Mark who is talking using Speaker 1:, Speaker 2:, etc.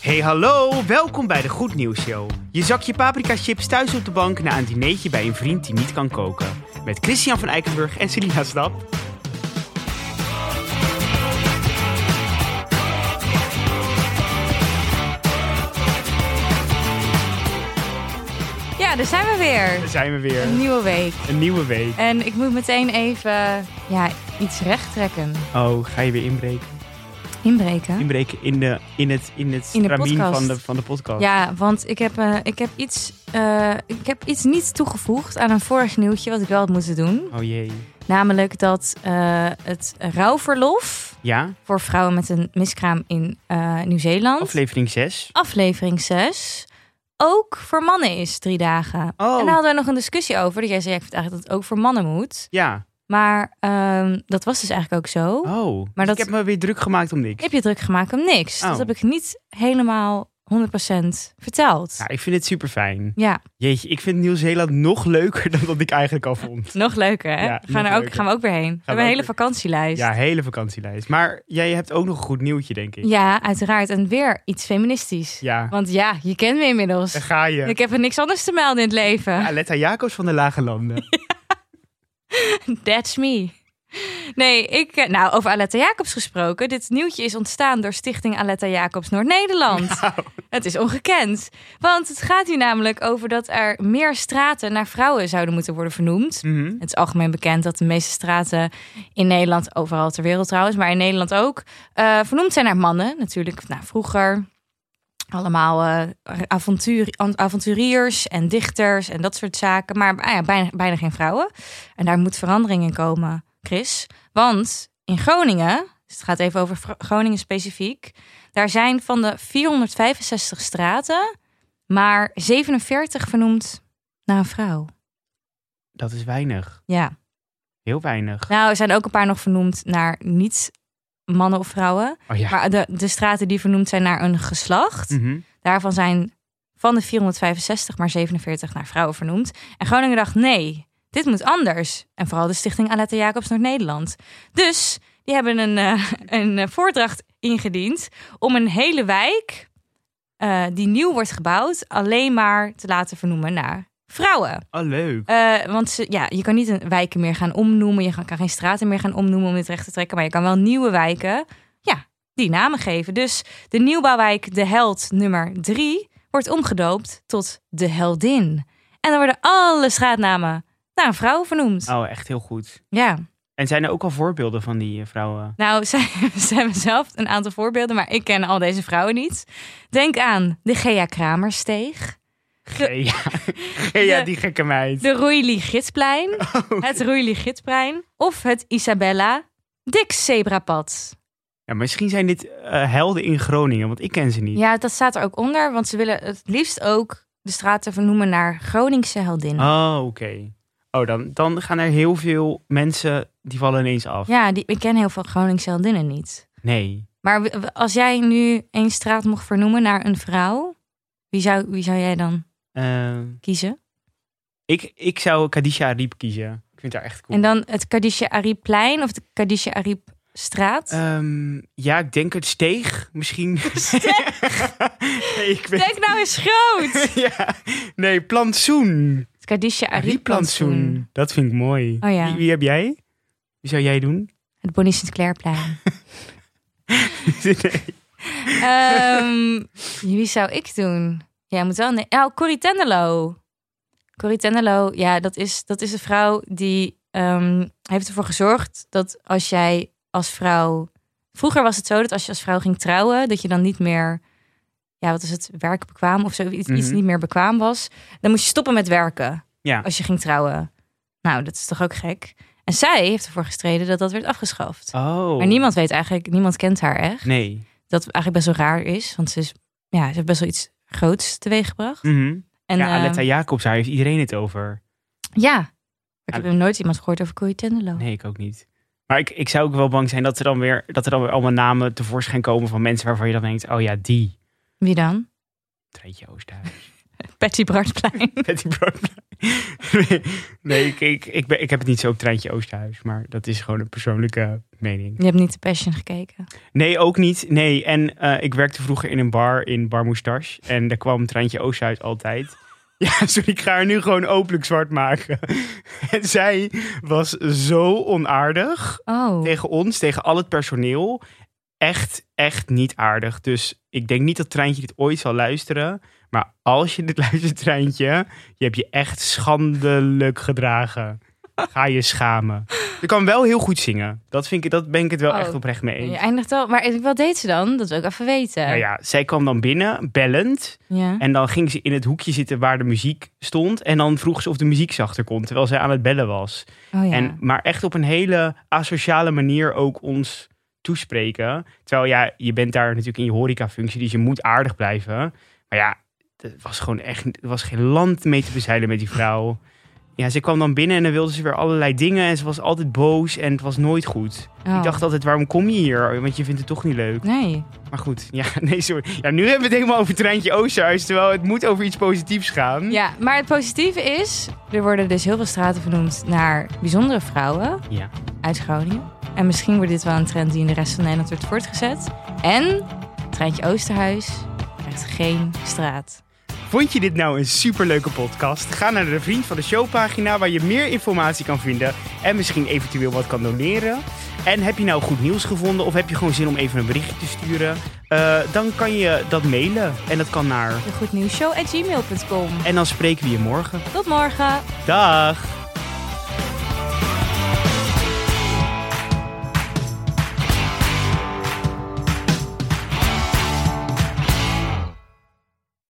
Speaker 1: Hey hallo, welkom bij de Goed Nieuws Show. Je zakje paprika chips thuis op de bank na een dinertje bij een vriend die niet kan koken. Met Christian van Eikenburg en Celina Stap.
Speaker 2: Ja, daar zijn we weer.
Speaker 1: Daar zijn we weer.
Speaker 2: Een nieuwe week.
Speaker 1: Een nieuwe week.
Speaker 2: En ik moet meteen even ja, iets rechttrekken.
Speaker 1: Oh, ga je weer inbreken?
Speaker 2: Inbreken.
Speaker 1: Inbreken in, de, in het, in het
Speaker 2: In de
Speaker 1: stramien
Speaker 2: podcast.
Speaker 1: van de, van de podcast.
Speaker 2: Ja, want ik heb, eh, ik, heb iets, eh, ik heb iets niet toegevoegd aan een vorig nieuwtje wat ik wel had moeten doen.
Speaker 1: Oh jee.
Speaker 2: Namelijk dat eh, het rouwverlof
Speaker 1: Ja,
Speaker 2: voor vrouwen met een miskraam in eh, Nieuw-Zeeland,
Speaker 1: aflevering 6.
Speaker 2: aflevering 6, ook voor mannen is drie dagen.
Speaker 1: Oh.
Speaker 2: En daar hadden we nog een discussie over. Dat jij zei, ja, ik vind eigenlijk dat het ook voor mannen moet.
Speaker 1: Ja.
Speaker 2: Maar ehm, dat was dus eigenlijk ook zo.
Speaker 1: Oh, dus
Speaker 2: dat-
Speaker 1: ik heb me weer druk gemaakt om niks.
Speaker 2: heb je druk gemaakt om niks.
Speaker 1: Oh.
Speaker 2: Dat heb ik niet helemaal 100% verteld. Ja.
Speaker 1: Ja, ik vind het super fijn. Jeetje, ik vind Nieuw-Zeeland nog leuker dan dat ik eigenlijk al vond.
Speaker 2: nog leuker hè?
Speaker 1: Ja,
Speaker 2: we gaan,
Speaker 1: nog
Speaker 2: er ook,
Speaker 1: leuker.
Speaker 2: gaan we ook weer heen. we hebben
Speaker 1: ook
Speaker 2: een hele
Speaker 1: weer.
Speaker 2: vakantielijst.
Speaker 1: Ja,
Speaker 2: Ja.
Speaker 1: hele vakantielijst. Maar jij hebt ook nog een goed nieuwtje, denk ik.
Speaker 2: uiteraard. En weer iets feministisch.
Speaker 1: Ja,
Speaker 2: Want ja, je kent me inmiddels.
Speaker 1: daar ga je.
Speaker 2: Ik heb er niks anders te melden in het leven.
Speaker 1: Aletta Jacobs van de Lage Landen.
Speaker 2: That's me. Nee, ik, eh, nou, over Aletta Jacobs gesproken. Dit nieuwtje is ontstaan door Stichting Aletta Jacobs Noord-Nederland.
Speaker 1: Nou.
Speaker 2: Het is ongekend. Want het gaat hier namelijk over dat er meer straten naar vrouwen zouden moeten worden vernoemd.
Speaker 1: Mhm.
Speaker 2: Het is algemeen bekend dat de meeste straten in Nederland, overal ter wereld trouwens, maar in Nederland ook, eh, vernoemd zijn naar mannen. Natuurlijk, nou, vroeger allemaal eh, avontuur, an- avonturiers en dichters en dat soort zaken. Maar ah ja, bijna, bijna geen vrouwen. En daar moet verandering in komen, Chris. Want in Groningen, dus het gaat even over Vro- Groningen specifiek, daar zijn van de 465 straten maar 47 vernoemd naar een vrouw.
Speaker 1: Dat is weinig.
Speaker 2: Ja.
Speaker 1: Heel weinig.
Speaker 2: Nou, er zijn ook een paar nog vernoemd naar niet mannen of vrouwen.
Speaker 1: Oh ja.
Speaker 2: Maar de, de straten die vernoemd zijn naar een geslacht.
Speaker 1: Mhm.
Speaker 2: Daarvan zijn van de 465 maar 47 naar vrouwen vernoemd. En Groningen dacht, nee, dit moet anders. En vooral de stichting Aletta Jacobs Noord-Nederland. Dus die hebben een, eh, een eh, voordracht ingediend om een hele wijk... eh, die nieuw wordt gebouwd, alleen maar te laten vernoemen naar vrouwen.
Speaker 1: Oh, leuk.
Speaker 2: Eh, want ze, ja, je kan niet een wijken meer gaan omnoemen. Je kan geen straten meer gaan omnoemen om dit recht te trekken. Maar je kan wel nieuwe wijken ja, die namen geven. Dus de nieuwbouwwijk De Held nummer 3 wordt omgedoopt tot De Heldin. En dan worden alle straatnamen naar een vrouw vernoemd.
Speaker 1: Oh, echt heel goed.
Speaker 2: Ja.
Speaker 1: En zijn er ook al voorbeelden van die eh, vrouwen?
Speaker 2: Nou, ze, ze hebben zelf een aantal voorbeelden, maar ik ken al deze vrouwen niet. Denk aan de Gea Kramersteeg,
Speaker 1: Gea. Gea,
Speaker 2: De-
Speaker 1: die gekke meid.
Speaker 2: de Roeili Gidsplein, het Roeili Gidsplein of het Isabella Dix Zebrapad.
Speaker 1: Ja, misschien zijn dit eh, helden in Groningen, want ik ken ze niet.
Speaker 2: Ja, dat staat er ook onder, want ze willen het liefst ook de straten vernoemen naar Groningse heldinnen.
Speaker 1: Oh, oké. Oh, dan, dan gaan er heel veel mensen, die vallen ineens af.
Speaker 2: Ja, die, ik ken heel veel Groningse heldinnen niet.
Speaker 1: Nee.
Speaker 2: Maar w- w- als jij nu één straat mocht vernoemen naar een vrouw, wie zou, wie zou jij dan
Speaker 1: Eh,
Speaker 2: kiezen?
Speaker 1: ik, ik zou Kadisha Riep kiezen. Ik vind haar echt cool.
Speaker 2: En dan het Kadisha Arieplein of de Kadisha Ariepstraat?
Speaker 1: Ehm, ja, ik denk het steeg misschien. nee, ik weet
Speaker 2: Denk nou eens groot!
Speaker 1: ja. Nee, plantsoen.
Speaker 2: Het Kadisha Ariepplantsoen.
Speaker 1: Rieplantsoen. Dat vind ik mooi.
Speaker 2: Ah, Oh ja.
Speaker 1: wie, wie heb jij? Wie zou jij doen?
Speaker 2: Het Bonnie Sinclairplein.
Speaker 1: nee.
Speaker 2: Ehm, wie zou ik doen? Jij moet wel... Nee. Oh, Corrie Tendelo. Corrie Tendelo, ja, dat is, dat is een vrouw die ehm, heeft ervoor gezorgd dat als jij als vrouw... Vroeger was het zo dat als je als vrouw ging trouwen, dat je dan niet meer... Ja, wat is het? Werkbekwaam of zo, iets, iets
Speaker 1: Mhm.
Speaker 2: niet meer bekwaam was. Dan moest je stoppen met werken
Speaker 1: Ja.
Speaker 2: als je ging trouwen. Nou, dat is toch ook gek? En zij heeft ervoor gestreden dat dat werd afgeschaft.
Speaker 1: Oh.
Speaker 2: Maar niemand weet eigenlijk, niemand kent haar echt
Speaker 1: Nee.
Speaker 2: dat eigenlijk best wel raar is. Want ze, is, ja, ze heeft best wel iets groots teweeggebracht.
Speaker 1: Mhm.
Speaker 2: En,
Speaker 1: ja,
Speaker 2: eh,
Speaker 1: Aletta Jacobs, daar heeft iedereen het over.
Speaker 2: ja. Maar ik heb hem nooit iemand gehoord over Corrie Tendelo.
Speaker 1: Nee, ik ook niet. Maar ik, ik zou ook wel bang zijn dat er, dan weer, dat er dan weer allemaal namen tevoorschijn komen van mensen waarvan je dan denkt, oh ja, die.
Speaker 2: Wie dan?
Speaker 1: Treetje Oosthuis.
Speaker 2: Patsy Brachtplein.
Speaker 1: Patty Broodplein. nee, ik, ik, ik, ben, ik heb het niet zo op Treintje Oosterhuis, maar dat is gewoon een persoonlijke mening.
Speaker 2: Je hebt niet de Passion gekeken.
Speaker 1: Nee, ook niet. Nee, en eh, ik werkte vroeger in een bar in Bar Moustache en daar kwam Treintje Oosterhuis altijd. Ja, sorry, ik ga haar nu gewoon openlijk zwart maken. En zij was zo onaardig.
Speaker 2: Oh.
Speaker 1: tegen ons, tegen al het personeel, echt, echt niet aardig. Dus ik denk niet dat Treintje dit ooit zal luisteren. Maar als je dit luistert, Treintje, je hebt je echt schandelijk gedragen. Ga je schamen. Je kan wel heel goed zingen. Dat, vind ik, dat ben ik het wel
Speaker 2: Oh.
Speaker 1: echt oprecht mee
Speaker 2: Je
Speaker 1: eens.
Speaker 2: eindigt al. Maar wat deed ze dan? Dat wil ik even weten.
Speaker 1: Nou ja, zij kwam dan binnen, bellend.
Speaker 2: Ja.
Speaker 1: En dan ging ze in het hoekje zitten waar de muziek stond. En dan vroeg ze of de muziek zachter kon, terwijl zij aan het bellen was.
Speaker 2: Oh ja.
Speaker 1: En, maar echt op een hele asociale manier ook ons toespreken. Terwijl ja, je bent daar natuurlijk in je horecafunctie, dus je moet aardig blijven. Maar ja, het was gewoon echt, er was geen land mee te bezeilen met die vrouw. Ja, ze kwam dan binnen en dan wilde ze weer allerlei dingen en ze was altijd boos en het was nooit goed.
Speaker 2: Oh.
Speaker 1: Ik dacht altijd, waarom kom je hier? Want je vindt het toch niet leuk.
Speaker 2: Nee.
Speaker 1: Maar goed, ja, nee, sorry. Ja, nu hebben we het helemaal over Treintje Oosterhuis, terwijl het moet over iets positiefs gaan.
Speaker 2: Ja, maar het positieve is, er worden dus heel veel straten vernoemd naar bijzondere vrouwen
Speaker 1: Ja.
Speaker 2: uit Groningen. En misschien wordt dit wel een trend die in de rest van Nederland wordt voortgezet. En Treintje Oosterhuis krijgt geen straat.
Speaker 1: Vond je dit nou een superleuke podcast? Ga naar de Vriend van de Show pagina waar je meer informatie kan vinden en misschien eventueel wat kan doneren. En heb je nou goed nieuws gevonden of heb je gewoon zin om even een berichtje te sturen? Eh, dan kan je dat mailen en dat kan naar.
Speaker 2: De Goed Nieuws Show at gmail.com.
Speaker 1: En dan spreken we je morgen.
Speaker 2: Tot morgen!
Speaker 1: Dag!